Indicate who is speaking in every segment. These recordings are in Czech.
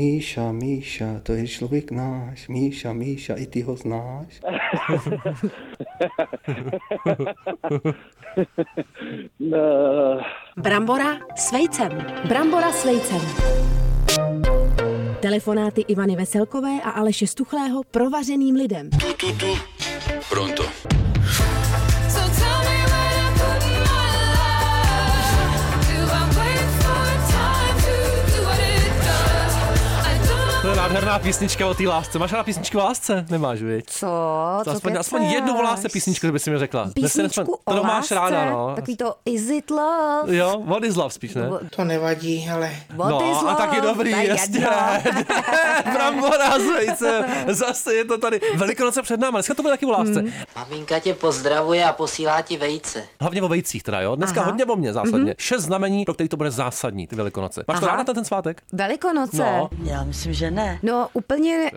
Speaker 1: Míša, Míša, to je člověk náš. Míša, Míša, i ty ho znáš?
Speaker 2: No,
Speaker 3: Brambora s vejcem.
Speaker 4: Brambora s vejcem. Telefonáty Ivany Veselkové a Aleše Stuchlého provařeným lidem.
Speaker 5: Pronto.
Speaker 6: So tell me where to put my love. Do I wait for time to do what it does? I don't know.
Speaker 7: To je nádherná písnička o té lásce. Máš ráda písničku o lásce? Nemáš, viď?
Speaker 8: Co?
Speaker 7: To
Speaker 8: co
Speaker 7: aspoň,
Speaker 8: kecáš?
Speaker 7: aspoň jednu o lásce písničku, kdyby si mi řekla. Dnes se
Speaker 8: Písničku
Speaker 7: nespoň-
Speaker 8: o
Speaker 7: Kterou máš
Speaker 8: lásce?
Speaker 7: ráda, no.
Speaker 8: Takový to Is it love?
Speaker 7: Jo, what is love spíš, ne?
Speaker 8: What
Speaker 9: To nevadí, ale
Speaker 8: What
Speaker 7: no,
Speaker 8: is love?
Speaker 7: a taky dobrý,
Speaker 8: To je
Speaker 7: jasně.
Speaker 8: jedno.
Speaker 7: Brambora s vejcem. Zase je to tady. Velikonoce před náma. Dneska to bude taky o lásce.
Speaker 8: Hmm.
Speaker 10: Maminka tě pozdravuje a posílá ti vejce.
Speaker 7: Hlavně o vejcích teda, jo? Dneska
Speaker 8: Aha. Mhm.
Speaker 7: hodně o mě zásadně. Šest znamení, pro který to bude zásadní, ty Velikonoce. Máš to
Speaker 8: Aha.
Speaker 7: ráda ten, ten svátek?
Speaker 8: Velikonoce.
Speaker 7: No.
Speaker 10: Já myslím, že ne.
Speaker 8: No, úplně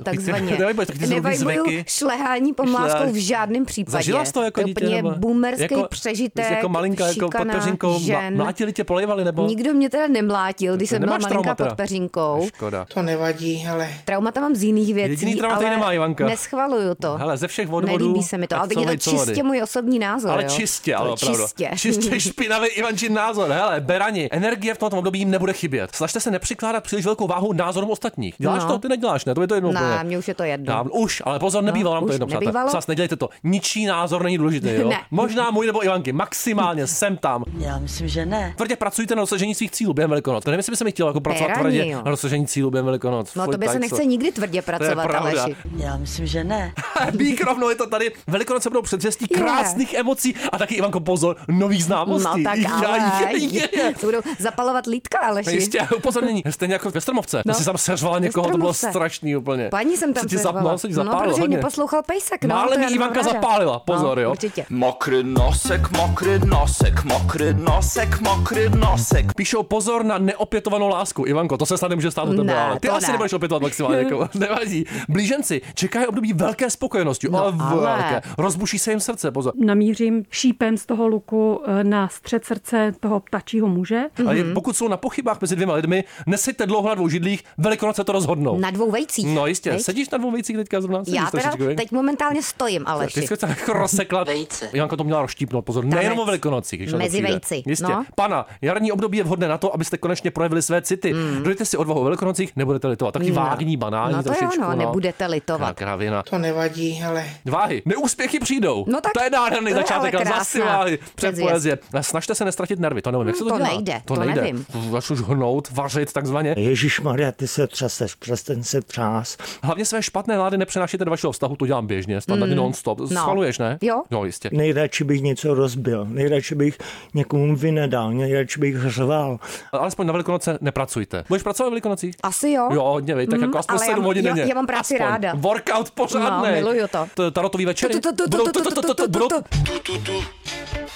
Speaker 8: takzvaně.
Speaker 7: nevajbuješ, tak ty jsou různý
Speaker 8: Nevajbuju
Speaker 7: zvyky.
Speaker 8: šlehání pomláskou v žádném případě.
Speaker 7: Zažila jsi to jako
Speaker 8: je
Speaker 7: dítě?
Speaker 8: úplně
Speaker 7: nebo-
Speaker 8: boomerský přežitek,
Speaker 7: Jako malinka, jako pod
Speaker 8: šikana
Speaker 7: peřinkou, mla-
Speaker 8: žen.
Speaker 7: mlátili tě, polejvali nebo?
Speaker 8: Nikdo mě teda nemlátil, když
Speaker 7: To
Speaker 8: jsem byla
Speaker 7: nemáš trauma
Speaker 8: malinká
Speaker 7: teda.
Speaker 8: pod peřinkou.
Speaker 7: Škoda.
Speaker 9: to nevadí, ale
Speaker 8: Traumata mám z jiných věcí,
Speaker 7: Jediný trauma tady
Speaker 8: ale
Speaker 7: nemá, Ivanka.
Speaker 8: neschvaluju to.
Speaker 7: Hele, ze všech odvodů,
Speaker 8: Nelíbí se mi to,
Speaker 7: tak
Speaker 8: ale tak
Speaker 7: co
Speaker 8: je to
Speaker 7: vej, co vody.
Speaker 8: čistě můj osobní názor.
Speaker 7: Ale
Speaker 8: jo.
Speaker 7: čistě,
Speaker 8: To
Speaker 7: ale
Speaker 8: je
Speaker 7: opravdu.
Speaker 8: Čistě.
Speaker 7: čistě špinavý Ivančin názor. Hele, berani, energie v tomto období jim nebude chybět. Snažte se nepřikládat příliš velkou váhu názorům ostatních. Děláš
Speaker 8: No.
Speaker 7: to, ty neděláš, ne? To je to jedno.
Speaker 8: Ne,
Speaker 7: úplně.
Speaker 8: mně už je to jedno.
Speaker 7: Dám, už, ale pozor, nebývalo nám to
Speaker 8: už
Speaker 7: jedno, přátelé.
Speaker 8: nebývalo.
Speaker 7: Zas nedělejte to. Ničí názor není důležitý, jo?
Speaker 8: Ne.
Speaker 7: Možná můj nebo Ivanky, maximálně jsem tam.
Speaker 10: Já myslím, že ne.
Speaker 7: Tvrdě pracujte na dosažení svých cílů během Velikonoc. To nevím, jestli by se mi chtělo jako pracovat
Speaker 8: Berani,
Speaker 7: tvrdě
Speaker 8: jo.
Speaker 7: na dosažení cílů během Velikonoc.
Speaker 8: No
Speaker 7: Fuj,
Speaker 8: to by se
Speaker 7: tak
Speaker 8: nechce
Speaker 7: co.
Speaker 8: nikdy tvrdě pracovat,
Speaker 7: pravda.
Speaker 8: Aleši.
Speaker 10: Já myslím, že ne.
Speaker 7: Bík rovnou je to tady. Velikonoce budou předvěstí
Speaker 8: Je.
Speaker 7: krásných emocí a taky, Ivanko, pozor, nových
Speaker 8: No
Speaker 7: známostí.
Speaker 8: tak
Speaker 7: Ja,
Speaker 8: ale,
Speaker 7: je, je.
Speaker 8: se budou zapalovat lítka, Aleši.
Speaker 7: Jistě, upozornění. Stejně jako ve Stromovce. No.
Speaker 8: No.
Speaker 7: Jsi tam seřvala
Speaker 8: Ve
Speaker 7: někoho, to bylo
Speaker 8: Stromovce.
Speaker 7: strašný úplně.
Speaker 8: Paní jsem tam
Speaker 7: se ti
Speaker 8: seřvala.
Speaker 7: zapnul, se ti zapálil,
Speaker 8: No, protože
Speaker 7: hodně.
Speaker 8: neposlouchal pejsek. No,
Speaker 7: Málem
Speaker 8: to
Speaker 7: mi
Speaker 8: já nemám
Speaker 7: Ivanka
Speaker 8: ráda.
Speaker 7: zapálila, pozor,
Speaker 8: no,
Speaker 7: jo.
Speaker 8: Určitě.
Speaker 5: Mokrý nosek, mokrý nosek, mokrý nosek, mokrý nosek.
Speaker 7: Píšou pozor na neopětovanou lásku. Ivanko, to se snad nemůže stát u tebe,
Speaker 8: Ne,
Speaker 7: ale ty
Speaker 8: to
Speaker 7: asi
Speaker 8: ne.
Speaker 7: nebudeš opětovat maximálně. Jako, nevadí. Blíženci čekají období velké spokojenosti. No,
Speaker 8: ale.
Speaker 7: velké. Rozbuší se jim srdce, pozor.
Speaker 11: namířím šípem z toho luku eh, na střed srdce toho ptačího muže.
Speaker 7: Ale
Speaker 8: Mhm.
Speaker 7: je- pokud jsou na pochybách mezi dvěma lidmi, neseďte dlouho na dvou židlích, velikonoce to rozhodnou.
Speaker 8: Na dvou vejcích.
Speaker 7: No jistě,
Speaker 8: viď?
Speaker 7: sedíš na dvou vejcích teďka zrovna? Sedíš
Speaker 8: Já teda
Speaker 7: trošičku, viď?
Speaker 8: teď momentálně stojím,
Speaker 7: Ty
Speaker 8: Aleši.
Speaker 7: jsi to tak rozsekla.
Speaker 10: Vejce.
Speaker 7: Janka to měla roštípnout, pozor,
Speaker 8: Tanec.
Speaker 7: nejenom o velikonocích. když na to
Speaker 8: Mezi
Speaker 7: přijde.
Speaker 8: vejci,
Speaker 7: Jistě.
Speaker 8: no.
Speaker 7: Pana, jarní období je vhodné na to, abyste konečně projevili své city. Mm. Dojte si odvahu o velikonocích, nebudete litovat. Taky
Speaker 8: No.
Speaker 7: vágní, banální
Speaker 8: Hmm. No to jo,
Speaker 7: trošičku.
Speaker 8: no, nebudete litovat.
Speaker 7: Tak, kravina.
Speaker 9: to nevadí, ale
Speaker 7: Váhy, neúspěchy přijdou.
Speaker 8: No tak
Speaker 7: to je nádherný
Speaker 8: to je
Speaker 7: začátek,
Speaker 8: ale
Speaker 7: ale zase
Speaker 8: krásná
Speaker 7: váhy. Před
Speaker 8: předzvěst.
Speaker 7: poezie. Snažte se nestratit nervy, to nevím, jak se to,
Speaker 8: to
Speaker 7: dělá.
Speaker 8: nejde,
Speaker 7: to,
Speaker 8: to
Speaker 7: nejde.
Speaker 8: nevím.
Speaker 7: Začneš hnout, vařit takzvaně.
Speaker 9: Ježíš Maria, ty se třeseš, přestaň se třás.
Speaker 7: Hlavně své špatné lády nepřenášíte do vašeho vztahu, to dělám běžně, standardně mm. non-stop. Schvaluješ, ne?
Speaker 8: Hmm. No. Jo.
Speaker 7: No, jistě.
Speaker 9: Nejradši bych něco rozbil, nejradši bych někomu vynedal, nejradši bych řval.
Speaker 7: Ale Alespoň na Velikonoce nepracujte. Budeš pracovat v Velikonocích?
Speaker 8: Asi jo.
Speaker 7: Jo, hodně, vej, tak
Speaker 8: Mm,
Speaker 7: jako aspoň
Speaker 8: ale já-
Speaker 7: 7 hodin
Speaker 8: já-
Speaker 7: denně.
Speaker 8: já mám práci
Speaker 7: aspoň.
Speaker 8: ráda.
Speaker 7: Workout pořádný.
Speaker 8: No, miluju to.
Speaker 7: Tarotový večery?
Speaker 8: Tu, tu, tu, tu,
Speaker 7: Budou
Speaker 8: tu, tu, tu, tu,
Speaker 7: budou-
Speaker 8: tu, tu.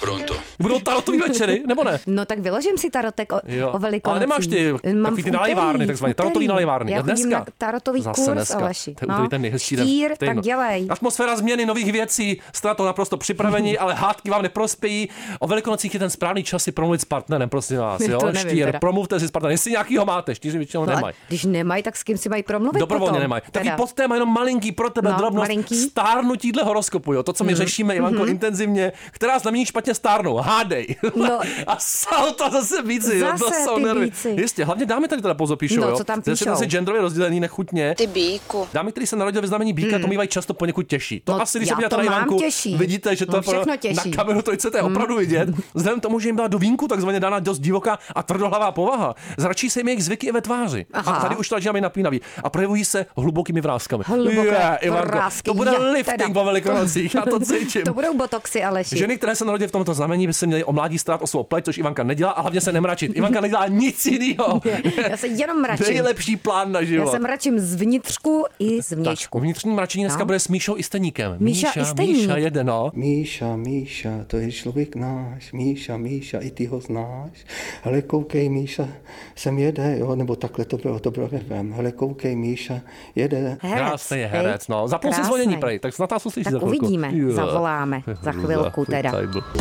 Speaker 5: Pronto.
Speaker 7: Budou tarotový večery, nebo ne?
Speaker 8: No tak vyložím si tarotek o,
Speaker 7: Jo.
Speaker 8: o velikonocích.
Speaker 7: Ale nemáš ty
Speaker 8: Mám
Speaker 7: takový ty
Speaker 8: v úterý,
Speaker 7: nalejvárny,
Speaker 8: v
Speaker 7: takzvané,
Speaker 8: úterý.
Speaker 7: tarotový nalejvárny.
Speaker 8: Já
Speaker 7: A dneska?
Speaker 8: chodím na tarotový
Speaker 7: Zase
Speaker 8: kurz,
Speaker 7: dneska.
Speaker 8: Aleši.
Speaker 7: To je úterý ten nejhezčí den.
Speaker 8: Tír,
Speaker 7: Týdno.
Speaker 8: tak dělej.
Speaker 7: Atmosféra změny nových věcí, jste na to naprosto připraveni, ale hádky vám neprospějí. O Velikonocích je ten správný čas si promluvit s partnerem, prosím vás.
Speaker 8: To
Speaker 7: Jo?
Speaker 8: nevím
Speaker 7: Štír,
Speaker 8: teda.
Speaker 7: promluvte si s partnerem, jestli nějakýho máte, štíři většinou
Speaker 8: No, a
Speaker 7: nemají.
Speaker 8: Když nemají, tak s kým si mají promluvit
Speaker 7: Dobrovolně
Speaker 8: potom?
Speaker 7: nemají. Taky
Speaker 8: Teda.
Speaker 7: podtéma jenom malinký pro tebe
Speaker 8: No,
Speaker 7: drobnost
Speaker 8: malinký. Mhm.
Speaker 7: stárnutí dle horoskopu, jo. To, co my řešíme, Ivanko, intenzivně, která znamení špatně stárnou. Hádej.
Speaker 8: No.
Speaker 7: A salta zase víci, jo. To
Speaker 8: Zase
Speaker 7: jsou
Speaker 8: ty
Speaker 7: nervy.
Speaker 8: bíci.
Speaker 7: Jistě, hlavně dámy tady teda pozor píšou,
Speaker 8: No,
Speaker 7: jo.
Speaker 8: co tam
Speaker 7: Zase
Speaker 8: píšou?
Speaker 7: zase genderově rozdělený nechutně.
Speaker 6: Ty bíku.
Speaker 7: Dámy, který se narodil ve znamení bíka, to mývají často poněkud těžší. To
Speaker 8: Mhm. No,
Speaker 7: asi, když se
Speaker 8: já
Speaker 7: podíváte
Speaker 8: to
Speaker 7: na
Speaker 8: mám
Speaker 7: Ivanku,
Speaker 8: těžší.
Speaker 7: vidíte, že to
Speaker 8: Mám
Speaker 7: je pro-
Speaker 8: všechno těžší.
Speaker 7: na kameru trojce,
Speaker 8: Hmm.
Speaker 7: to je opravdu vidět. Vzhledem k tomu, že jim byla do vínku takzvaně dána dost divoká a tvrdohlavá povaha, zračí se jim jejich zvyky i ve tváři. A
Speaker 8: Aha.
Speaker 7: tady už začínáme napínavý. A projevují se hlubokými vrázkami.
Speaker 8: Hluboké
Speaker 7: Je, Ivanko,
Speaker 8: vrásky,
Speaker 7: to bude
Speaker 8: je,
Speaker 7: lifting
Speaker 8: teda.
Speaker 7: po velikonocích, já to cítím.
Speaker 8: To budou botoxy, Aleši.
Speaker 7: Ženy, které se narodí v tomto znamení, by se měly o mládí strát o svou pleť, což Ivanka nedělá a hlavně se nemračit. Ivanka nedělá nic jiného.
Speaker 8: Já se jenom mračím.
Speaker 7: Nejlepší plán na život.
Speaker 8: Já se mračím z vnitřku i z vnějšku.
Speaker 7: Vnitřní mračení dneska
Speaker 8: No.
Speaker 7: bude s Míšou Isteníkem.
Speaker 8: Míša Isteník.
Speaker 7: Míša jede, no.
Speaker 1: Míša, Míša, to je člověk náš. Míša, Míša, i ty ho znáš. Hele, koukej, Míša, sem jede, jo, nebo takhle to bylo, to bylo FM. Hele, koukej, Míša, jede.
Speaker 8: Herec,
Speaker 7: Krásný je
Speaker 8: viď?
Speaker 7: herec, no. Zapnul si
Speaker 8: Krásnej.
Speaker 7: zvonění, prej, tak snad nás uslyší
Speaker 8: Tak
Speaker 7: za chvilku.
Speaker 8: uvidíme,
Speaker 7: Jo.
Speaker 8: zavoláme za chvilku teda.
Speaker 7: Tady byl.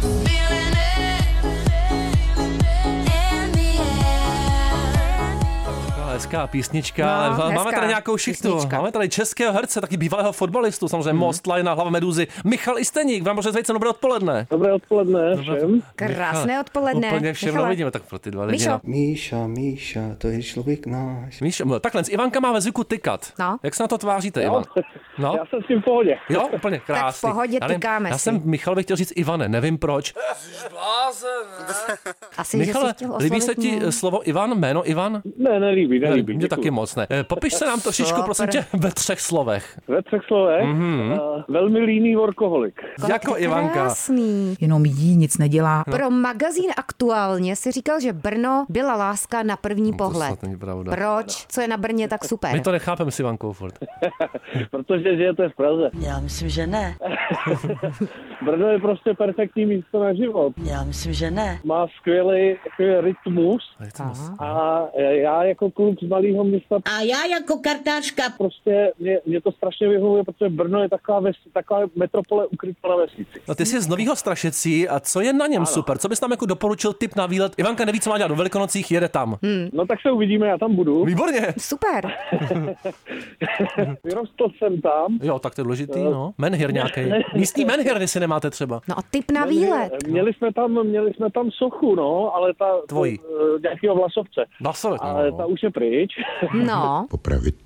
Speaker 6: feeling it in the air.
Speaker 7: Hezká písnička,
Speaker 8: No,
Speaker 7: no, ale hezká máme
Speaker 8: hezká
Speaker 7: tady nějakou šichtu.
Speaker 8: písnička. Mhm.
Speaker 7: Máme tady českého herce, taky bývalého fotbalistu, samozřejmě hmm. Most, Lajna, Hlava Meduzy. Michal Isteník, vám pořád dobré odpoledne.
Speaker 2: Dobré odpoledne všem.
Speaker 8: Krásné odpoledne.
Speaker 7: Úplně všem
Speaker 8: Michale.
Speaker 7: nevidíme, tak pro ty dva lidi.
Speaker 8: Míšo.
Speaker 7: no.
Speaker 1: Míša, Míša, to je člověk náš.
Speaker 7: Míšo, takhle, Ivanka má ve zvuku tykat.
Speaker 8: No.
Speaker 7: Jak se na to tváříte, Ivan? No.
Speaker 2: Já jsem s tím v pohodě.
Speaker 7: Jo, úplně krásný.
Speaker 8: pohodě
Speaker 7: já, nevím,
Speaker 8: tykáme
Speaker 7: já
Speaker 8: si.
Speaker 7: jsem Michalovi chtěl říct Ivane, nevím proč.
Speaker 8: Asi, že
Speaker 7: Michale,
Speaker 8: jsi chtěl
Speaker 7: líbí
Speaker 8: oslovit
Speaker 7: se ti
Speaker 8: mě.
Speaker 7: eh, slovo Ivan, jméno Ivan?
Speaker 2: Ne, nelíbí, nelíbí.
Speaker 7: Mně
Speaker 2: děkuju.
Speaker 7: taky moc ne. Eh, Popiš se nám trošičku,
Speaker 8: Super.
Speaker 7: prosím tě, ve třech slovech.
Speaker 2: Ve třech slovech. eh, velmi líný workoholik.
Speaker 8: Kolik
Speaker 7: jako
Speaker 8: to
Speaker 7: Ivanka. No.
Speaker 8: Krásný.
Speaker 12: Jenom jí nic nedělá.
Speaker 8: Pro magazín Aktuálně si říkal, že Brno byla láska na první pohled.
Speaker 7: No, snad není pravda. No.
Speaker 8: Proč? Co je na Brně tak super?
Speaker 7: My to nechápeme s Ivankou furt.
Speaker 2: Protože žijete v Praze.
Speaker 10: Já myslím, že ne.
Speaker 2: Brno je prostě perfektní místo na život.
Speaker 10: Já myslím, že ne.
Speaker 2: Má skvělý takový rytmus
Speaker 7: Ale je to moc-
Speaker 2: a eh, já jako kluk z malého města
Speaker 6: A já jako kartářka
Speaker 2: prostě mě, mě to strašně vyhovuje, protože Brno je taková, ves, taková metropole ukrytá na vesnici.
Speaker 7: No ty jsi z Nového Strašecí a co je na něm super? Co bys nám jako doporučil tip na výlet? Ivanka neví, co má dělat do Velikonocích, jede tam.
Speaker 8: Hm.
Speaker 2: No tak se uvidíme, já tam budu.
Speaker 7: Výborně.
Speaker 8: Super.
Speaker 2: Vyrostl jsem tam.
Speaker 7: Jo, tak to je důležitý, no. Menhir nějaký. Místní menhir, jestli nemáte třeba.
Speaker 8: No a tip na výlet.
Speaker 5: No.
Speaker 2: Měli jsme tam, měli jsme tam sochu, no, ale ta...
Speaker 7: Tvojí.
Speaker 2: eh, Nějakýho vlasovce.
Speaker 7: Vasovek,
Speaker 2: Ale ta
Speaker 7: no.
Speaker 2: už je pryč.
Speaker 8: No,
Speaker 13: Popravit.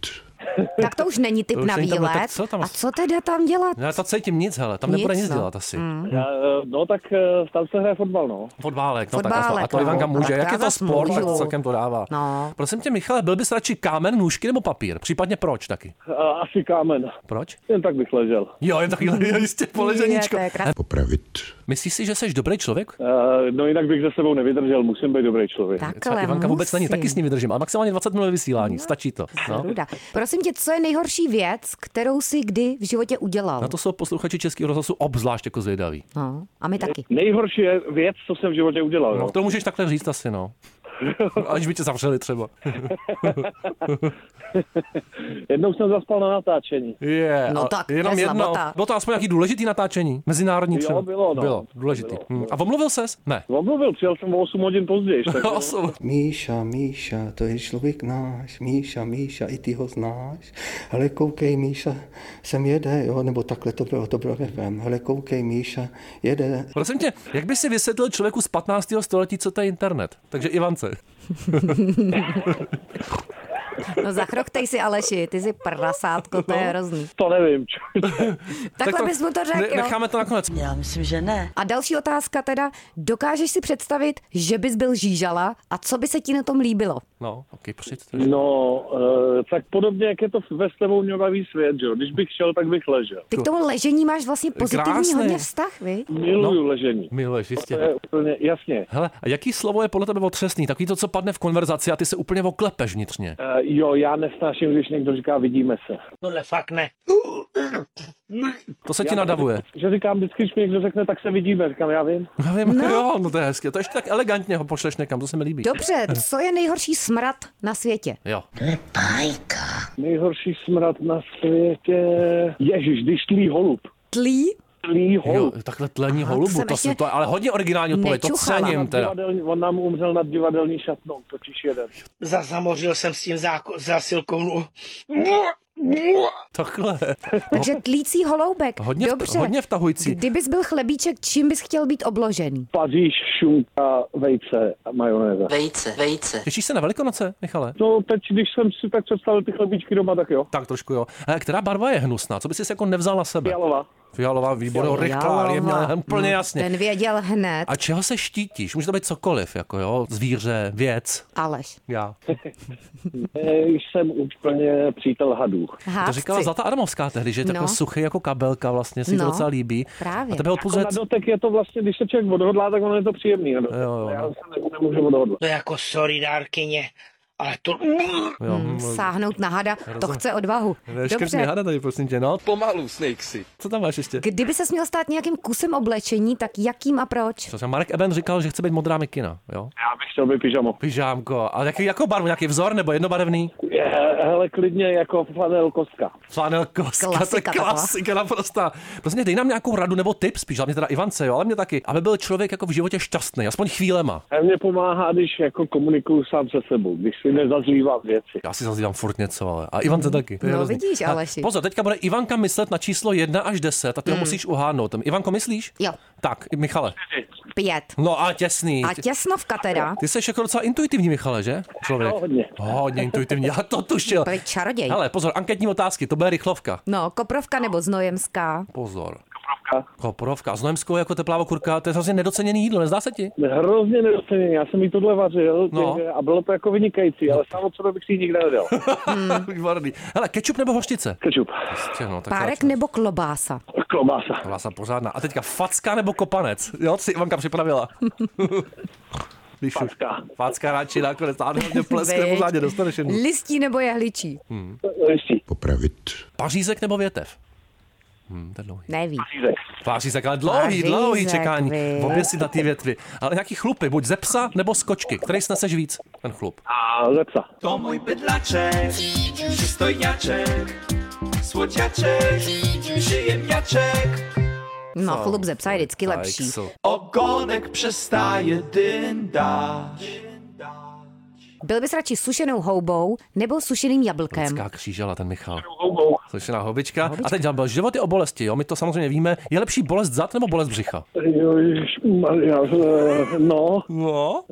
Speaker 8: tak to už není tip
Speaker 7: To už
Speaker 8: na
Speaker 7: není tam, no, tak
Speaker 8: výlet.
Speaker 7: co tam
Speaker 8: A
Speaker 7: asi-
Speaker 8: co teda tam dělat?
Speaker 7: Já to cítím nic, hele, tam nebude
Speaker 8: Nic,
Speaker 7: nic
Speaker 8: no.
Speaker 7: dělat asi.
Speaker 2: Já, eh, no tak eh, tam se hraje fotbal, no.
Speaker 7: Fotbálek, no tak aspoň.
Speaker 8: Fotbálek,
Speaker 7: A to
Speaker 8: no.
Speaker 7: Ivanka může.
Speaker 8: Tak
Speaker 7: Jak
Speaker 8: já
Speaker 7: je to
Speaker 8: zas
Speaker 7: sport, tak
Speaker 8: můžu.
Speaker 7: celkem to dává.
Speaker 8: No,
Speaker 7: Prosím tě, Michale, byl bys radši kámen, nůžky nebo papír? Případně proč taky?
Speaker 2: Eh, Asi kámen.
Speaker 7: Proč?
Speaker 2: Jen tak bych ležel.
Speaker 7: Jo, jen takhle, jo, jistě, poleženíčko.
Speaker 8: Je, to je krásný.
Speaker 13: Popravit.
Speaker 7: Myslíš si, že jsi dobrý člověk?
Speaker 2: Eh, No jinak bych ze sebou nevydržel, musím být dobrý člověk.
Speaker 7: Třeba
Speaker 8: takhle
Speaker 7: Ivanka vůbec
Speaker 8: musím.
Speaker 7: není, taky s ní vydržím, ale maximálně 20 minut vysílání, stačí to. No.
Speaker 8: Ruda. Prosím tě, co je nejhorší věc, kterou si kdy v životě udělal?
Speaker 7: Na to jsou posluchači Českého rozhlasu obzvlášť jako zvědaví.
Speaker 8: No, a my taky.
Speaker 2: Nejhorší je věc, co jsem v životě udělal.
Speaker 7: No,
Speaker 2: No.
Speaker 7: to můžeš takhle říct asi, no. Až by tě zavřeli třeba.
Speaker 2: Jednou jsem zaspal na natáčení.
Speaker 7: Je,
Speaker 8: No
Speaker 7: ale
Speaker 8: tak,
Speaker 7: jenom
Speaker 8: to je
Speaker 7: jedno.
Speaker 8: slabota.
Speaker 7: Bylo to aspoň nějaký důležitý natáčení, mezinárodní
Speaker 2: Jo,
Speaker 7: třeba.
Speaker 2: bylo, no.
Speaker 7: Bylo, důležitý.
Speaker 2: Bylo,
Speaker 7: Hm.
Speaker 2: bylo.
Speaker 7: A omluvil ses? Ne.
Speaker 2: Omluvil, přijel jsem o 8 hodin později. Tak...
Speaker 7: Osm.
Speaker 1: Míša, Míša, to je člověk náš. Míša, Míša, i ty ho znáš. Hele, koukej, Míša, sem jede, jo, nebo takhle to bylo, to bylo FM. Hele, koukej, Míša, jede.
Speaker 7: Prosím tě, jak by si vysvětlil člověku z 15. století, co to je internet? Takže Ivance.
Speaker 8: No zachrochtej si Aleši, ty jsi prasátko, to je hrozný.
Speaker 2: No, To nevím. čo-
Speaker 8: Takhle bys mu to řekl,
Speaker 7: ne-
Speaker 8: jo.
Speaker 7: Necháme to nakonec.
Speaker 10: Já myslím, že ne.
Speaker 8: A další otázka teda, dokážeš si představit, že bys byl žížala a co by se ti na tom líbilo?
Speaker 7: No, ok, přijď. to je-
Speaker 2: No, eh, tak podobně, jak je to ve s tebou mělavý svět, že jo. Když bych šel, tak bych ležel.
Speaker 8: Ty k tomu ležení máš vlastně pozitivní
Speaker 7: Krásné.
Speaker 8: hodně vztah, viď?
Speaker 2: Miluju no. ležení.
Speaker 7: Miluješ, jistě.
Speaker 2: To je úplně, jasně.
Speaker 7: Hele, a jaký slovo je podle tebe otřesný? Takový to, co padne v konverzaci a ty se úplně oklepeš vnitřně.
Speaker 2: Eh, jo, já nesnáším, když někdo říká vidíme se.
Speaker 7: To se ti nadavuje.
Speaker 2: Že říkám vždycky, když mi někdo řekne, tak se vidíme, říkám, já vím.
Speaker 7: Já vím, no. jo, no to je hezké. To ještě tak elegantně ho pošleš někam, to se mi líbí.
Speaker 8: Dobře, co je nejhorší smrad na světě?
Speaker 7: Jo.
Speaker 2: Nejhorší smrad na světě. Ježíš, když tlí holub.
Speaker 8: Tlí?
Speaker 2: Tlí
Speaker 7: jo,
Speaker 2: holub.
Speaker 7: takhle tlení
Speaker 8: Aha,
Speaker 7: holubu,
Speaker 8: to jsem
Speaker 7: to,
Speaker 8: ještě
Speaker 7: jsem to, ale hodně originální odpověď, to
Speaker 8: nečuchala.
Speaker 7: cením teda.
Speaker 2: Divadelní, on nám umřel nad divadelní šatnou, totiž jeden.
Speaker 14: Zazamořil jsem s tím záko- zásilkou.
Speaker 7: Takhle.
Speaker 8: Takže tlící holoubek.
Speaker 7: No. Hodně,
Speaker 8: Dobře.
Speaker 7: hodně vtahující.
Speaker 8: Kdybys byl chlebíček, čím bys chtěl být obložený?
Speaker 2: Paříž, šunka, vejce a majonéza.
Speaker 10: Vejce, vejce.
Speaker 7: Těšíš se na Velikonoce, Michale?
Speaker 2: No teď, když jsem si tak představil ty chlebíčky doma, tak jo.
Speaker 7: Tak trošku jo. Hele, která barva je hnusná? Co bys si jako nevzal na sebe?
Speaker 2: Fialová.
Speaker 7: Fialová, výborně, rychlá, je měla úplně jasně.
Speaker 8: Hmm. Ten věděl hned,
Speaker 7: A čeho se štítíš? Může to být cokoliv, jako jo, zvíře, věc.
Speaker 8: Aleš.
Speaker 7: Já.
Speaker 2: Jsem úplně přítel hadů.
Speaker 7: To
Speaker 8: Hádci.
Speaker 7: říkala Zlata Adamovská tehdy, že je takový
Speaker 8: No.
Speaker 7: suchý jako kabelka, vlastně si no. to
Speaker 8: No,
Speaker 7: docela líbí.
Speaker 8: právě. Jako
Speaker 7: A tebe odpuzuje...
Speaker 2: Na dotek je to vlastně, když se člověk odhodlá, tak ono je to příjemný. Na dotek.
Speaker 7: Jo, jo,
Speaker 2: Já
Speaker 7: no.
Speaker 2: se ne, nemůžu odhodlat.
Speaker 14: To je jako sorry, dárkyně, ale to...
Speaker 7: Jo,
Speaker 8: Hmm, Sáhnout na hada, to
Speaker 7: Rozumím.
Speaker 8: chce odvahu.
Speaker 7: Dobře.
Speaker 8: Dobře,
Speaker 7: hada tady, prosím tě, no.
Speaker 5: Pomalu, Snakesy.
Speaker 7: Co tam máš ještě?
Speaker 8: kdyby se měl stát nějakým kusem oblečení, tak jakým a proč?
Speaker 7: Přesně, Marek Eben říkal, že chce být modrá mikina, jo?
Speaker 2: Já bych chtěl být pyžamo.
Speaker 7: Pyžámko. A jaký, jakou barvu? Nějaký vzor nebo jednobarevný?
Speaker 2: Je, hele, klidně jako flanel kostka.
Speaker 7: Flanel koska, to je
Speaker 8: Klasika taková.
Speaker 7: klasika naprostá. Prostě dej nám nějakou radu nebo tip, spíš hlavně teda Ivance, jo, ale mě taky, aby byl člověk jako v životě šťastný, aspoň chvílema.
Speaker 2: A mě pomáhá, když jako komunikuju sám se sebou. Když si nezazlívám věci.
Speaker 7: Já si zazlívám furt něco, ale. A Ivan se taky. To je
Speaker 8: No,
Speaker 7: hrozný.
Speaker 8: vidíš,
Speaker 7: A
Speaker 8: Aleši. Mm.
Speaker 7: Pozor, teďka bude Ivanka myslet na číslo 1 až 10 a ty ho musíš uhádnout. Tam, Ivanko, myslíš?
Speaker 8: Jo.
Speaker 7: Tak, Michale.
Speaker 8: Pět.
Speaker 7: No a těsný.
Speaker 8: A těsnovka teda.
Speaker 7: Ty jsi jako docela intuitivní, Michale, že? Člověk.
Speaker 8: No, hodně.
Speaker 7: Hodně intuitivní, já to tušil.
Speaker 8: Byl čaroděj.
Speaker 7: Hele, pozor, anketní otázky, to bude rychlovka.
Speaker 8: No, koprovka nebo znojemská.
Speaker 7: Pozor. Koprovka. Koprovka. S Noemskou jako teplávo kurka, to je hrozně nedoceněný jídlo, nezdá se ti?
Speaker 2: Hrozně nedoceněný, já jsem jí tohle vařil
Speaker 7: No.
Speaker 2: no. a bylo to jako vynikající, ale sám od sebe bych si ji nikdy nedal.
Speaker 7: Výborný. Hele, kečup nebo hořčice?
Speaker 2: Kečup.
Speaker 7: Jistě, no, tak
Speaker 8: Párek nebo klobása.
Speaker 2: Klobása.
Speaker 7: Klobása pořádná. A teďka facka nebo kopanec? Jo, si Ivanka připravila. Když facka. Facka radši nakonec. A hodně plesk nebo
Speaker 8: Veď.
Speaker 7: řádně dostaneš jednu.
Speaker 8: Listí nebo jehličí.
Speaker 7: Hmm.
Speaker 12: Popravit.
Speaker 7: Pařízek nebo větev? Hmm, to je dlouhý.
Speaker 8: Neví.
Speaker 7: Pařízek, ale dlouhý,
Speaker 8: Pařízek,
Speaker 7: dlouhý čekání.
Speaker 8: vy.
Speaker 7: Obě si na ty větvy. Ale nějaký chlupy, buď ze psa nebo z kočky. Který sneseš víc, ten chlup?
Speaker 2: A ze psa.
Speaker 5: To můj bydlaček, přistojňaček, svoťaček, příjemňaček.
Speaker 8: No,
Speaker 5: Co?
Speaker 8: chlup ze psa je vždycky
Speaker 5: Tak,
Speaker 8: lepší.
Speaker 5: co? Ogonek přestáje dyndat.
Speaker 8: Byl bys radši sušenou houbou nebo sušeným jablkem.
Speaker 7: Lidská křížela, ten Michal. Slyšená hobička. A teď byl život je o bolesti, jo? My to samozřejmě víme. Je lepší bolest zad nebo bolest břicha?
Speaker 2: Ježišmarja, eh, no.
Speaker 7: No.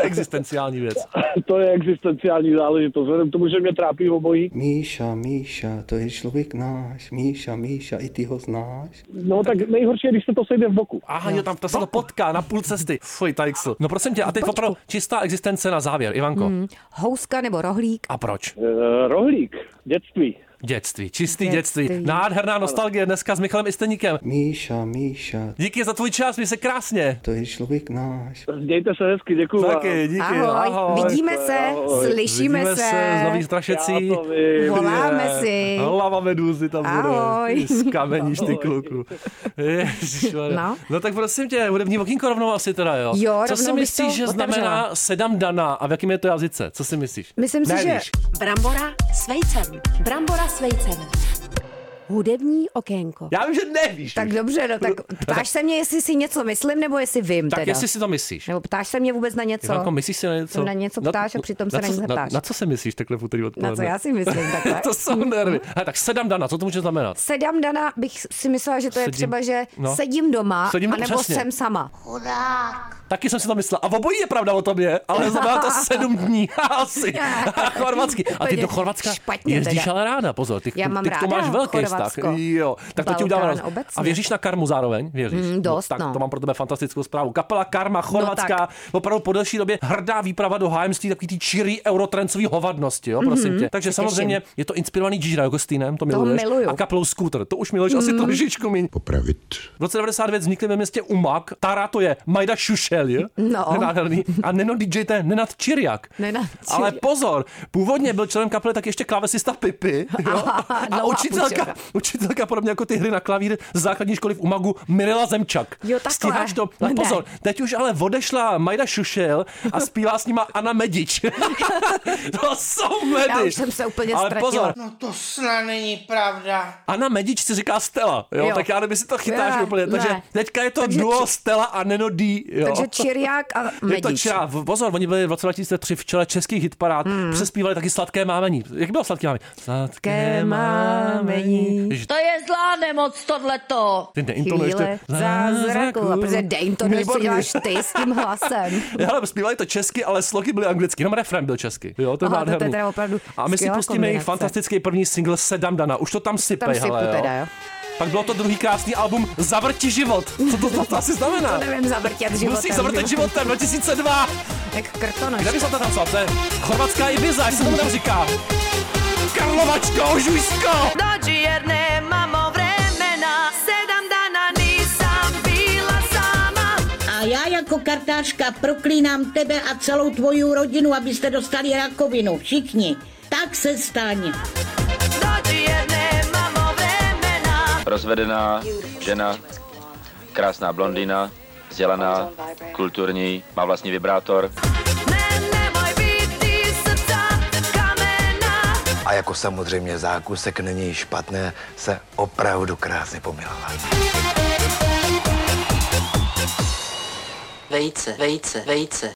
Speaker 7: Existenciální věc.
Speaker 2: to je existenciální záležitost, vzhledem k tomu, že mě trápí obojí.
Speaker 1: Míša, Míša, to je člověk náš. Míša, Míša, i ty ho znáš.
Speaker 2: No tak nejhorší je, když se to sejde v boku.
Speaker 7: Aha, jo, tam to se to potká na půl cesty. Fuj, tajksl. No prosím tě, a teď opravdu čistá existence na závěr, Ivanko.
Speaker 8: Hmm. Houska nebo rohlík.
Speaker 7: A proč?
Speaker 2: Eh, rohlík, dětství.
Speaker 7: Dětství, čistý
Speaker 8: Dětství.
Speaker 7: dětství. Nádherná nostalgie dneska s Michalem Isteníkem.
Speaker 1: Míša, Míša,
Speaker 7: Díky za tvůj čas, mi se krásně.
Speaker 1: to je člověk náš.
Speaker 2: Mějte se hezky, děkuji.
Speaker 7: Taky, díky.
Speaker 8: Ahoj, vidíme se, slyšíme
Speaker 7: Vidíme
Speaker 8: se.
Speaker 7: z nových strašecí.
Speaker 2: Já to vím.
Speaker 8: Voláme
Speaker 7: Je.
Speaker 8: si.
Speaker 7: Hlava medúzy tam
Speaker 8: Ahoj.
Speaker 7: bude. Ty Skameníš ty kluku. Ježišmarja.
Speaker 8: No.
Speaker 7: no. tak prosím tě, hudební okýnko rovnou asi teda, jo?
Speaker 8: Jo,
Speaker 7: Co si
Speaker 8: rovnou bych
Speaker 7: myslíš,
Speaker 8: to
Speaker 7: že
Speaker 8: otevřela.
Speaker 7: znamená sedam daná a v jakém je to jazyce? Co si myslíš? Nevíš.
Speaker 3: Brambora s vejcem. Brambora s vejcem.
Speaker 4: Hudební okénko.
Speaker 7: Já vím, že nevíš.
Speaker 8: Tak dobře, no tak ptáš se mě, jestli si něco myslím, nebo jestli vím
Speaker 7: Tak
Speaker 8: teda.
Speaker 7: jestli si to myslíš.
Speaker 8: Nebo ptáš se mě vůbec na něco?
Speaker 7: Ivanko, myslíš si na něco?
Speaker 8: Na něco ptáš a přitom se na
Speaker 7: co-
Speaker 8: nic neptáš.
Speaker 7: Na, na co se myslíš takhle v úterý odpoledne?
Speaker 8: Na co já si myslím takhle?
Speaker 7: to jsou nervy. Hele, tak sedam dana, co to může znamenat?
Speaker 8: Sedám dana, bych si myslela, že to je
Speaker 7: Sedím-
Speaker 8: třeba, že
Speaker 7: no.
Speaker 8: sedím doma,
Speaker 7: Sedím-
Speaker 8: anebo
Speaker 7: přesně.
Speaker 8: jsem sama.
Speaker 7: Taky jsem si to myslela. A obojí je pravda o tobě, ale znamená to sedm dní. Asi. A chorvatsky. A ty
Speaker 8: Úplně
Speaker 7: do Chorvatska
Speaker 8: špatně
Speaker 7: jezdíš
Speaker 8: teda.
Speaker 7: ale ráda, pozor. Ty,
Speaker 8: Já mám
Speaker 7: ty k tomu
Speaker 8: ráda
Speaker 7: máš velký
Speaker 8: Chorvatsko.
Speaker 7: vztah. Jo, tak to ti
Speaker 8: Balkán
Speaker 7: uděláme. roz-
Speaker 8: obecně.
Speaker 7: A věříš na karmu zároveň? Věříš?
Speaker 8: Mm, dost,
Speaker 7: tak
Speaker 8: no.
Speaker 7: to mám pro tebe fantastickou zprávu. Kapela Karma Chorvatská,
Speaker 8: No
Speaker 7: opravdu po delší době hrdá výprava do hájemství, takový ty čirý eurotrencový hovadnosti, jo, prosím
Speaker 8: Mhm,
Speaker 7: tě. Takže
Speaker 8: se
Speaker 7: samozřejmě je to inspirovaný Gina Jogostýnem, to
Speaker 8: To
Speaker 7: miluješ.
Speaker 8: miluju.
Speaker 7: A kapelou Scooter, to už miluješ asi
Speaker 8: Mm.
Speaker 7: trošičku míň.
Speaker 12: Popravit.
Speaker 7: V roce 99 vznikly ve městě Umak, Tara to je Majda Šušel, je?
Speaker 8: No.
Speaker 7: To je Nádherný. A Neno DJ to je Nenad Čiriak.
Speaker 8: Ne, na
Speaker 7: Ale pozor, původně byl členem kapely tak ještě klávesista Pipy jo?
Speaker 8: Aha, no,
Speaker 7: a
Speaker 8: dlouhá
Speaker 7: učitelka,
Speaker 8: půjčovka.
Speaker 7: učitelka podobně jako ty hry na klavír z základní školy v Umagu Mirila Zemčak.
Speaker 8: Jo, takhle.
Speaker 7: Stíháš to? Ale
Speaker 8: Ne.
Speaker 7: pozor, teď už ale odešla Majda Šušel a zpívá s nima Anna Medič. to jsou medy.
Speaker 8: Já už jsem se úplně
Speaker 7: Ale
Speaker 8: ztratila.
Speaker 7: pozor,
Speaker 14: No to snad není pravda.
Speaker 7: Anna Medič si říká Stella, jo?
Speaker 8: Jo.
Speaker 7: tak já nevím, jestli to chytáš
Speaker 8: Ne,
Speaker 7: úplně. Takže
Speaker 8: ne.
Speaker 7: teďka je to
Speaker 8: Takže
Speaker 7: duo
Speaker 8: či-
Speaker 7: Stella a Neno D. Jo?
Speaker 8: Takže Čiriák a
Speaker 7: Je to
Speaker 8: Medič.
Speaker 7: čirá. V- Pozor, oni byli v roce 2003 v čele českých hitparád,
Speaker 8: Hmm.
Speaker 7: mm. přespívali taky sladké mámení. Jak bylo sladké mámení? Sladké mámení. Ježiš,
Speaker 13: To je zlá nemoc tohleto.
Speaker 7: Ty neintonuješ to.
Speaker 8: Chvíle zázraku. A protože deintonuješ, co
Speaker 7: Výborný.
Speaker 8: děláš ty s tím hlasem.
Speaker 7: Hele, zpívali to česky, ale sloky byly anglicky, jenom refrén byl česky. Jo, to je
Speaker 8: Aha, to- to je
Speaker 7: nádherný.
Speaker 8: teda opravdu
Speaker 7: A my si
Speaker 8: skvělá
Speaker 7: pustíme jejich
Speaker 8: kombinace.
Speaker 7: fantastický první single Sedam Dana. Už to tam sype,
Speaker 8: Tam sypu
Speaker 7: hele, jo.
Speaker 8: teda, jo.
Speaker 7: Pak bylo to druhý krásný album Zavrti život. Co to, to, to asi znamená?
Speaker 8: To nevím, zavrtět životem.
Speaker 7: Musíš zavrtat životem 2002.
Speaker 8: Jak krtonoš.
Speaker 7: Kde by se to tam To je chorvatská Ibiza, jak se tomu tam říká. Karlovačko, Žujsko!
Speaker 6: Dođi jer nemamo vremena, sedam dana nisam bila sama.
Speaker 13: A já jako kartářka proklínám tebe a celou tvoji rodinu, abyste dostali rakovinu. Všichni. Tak se staň.
Speaker 6: Dođi jer nemamo vremena.
Speaker 15: Rozvedená žena, krásná blondýna, vzdělaná, kulturní, má vlastní vibrátor.
Speaker 6: Nemoj biti srca kamena.
Speaker 16: A jako samozřejmě zákusek není špatné, se opravdu krásně pomilovala.
Speaker 10: Vejce, vejce, vejce.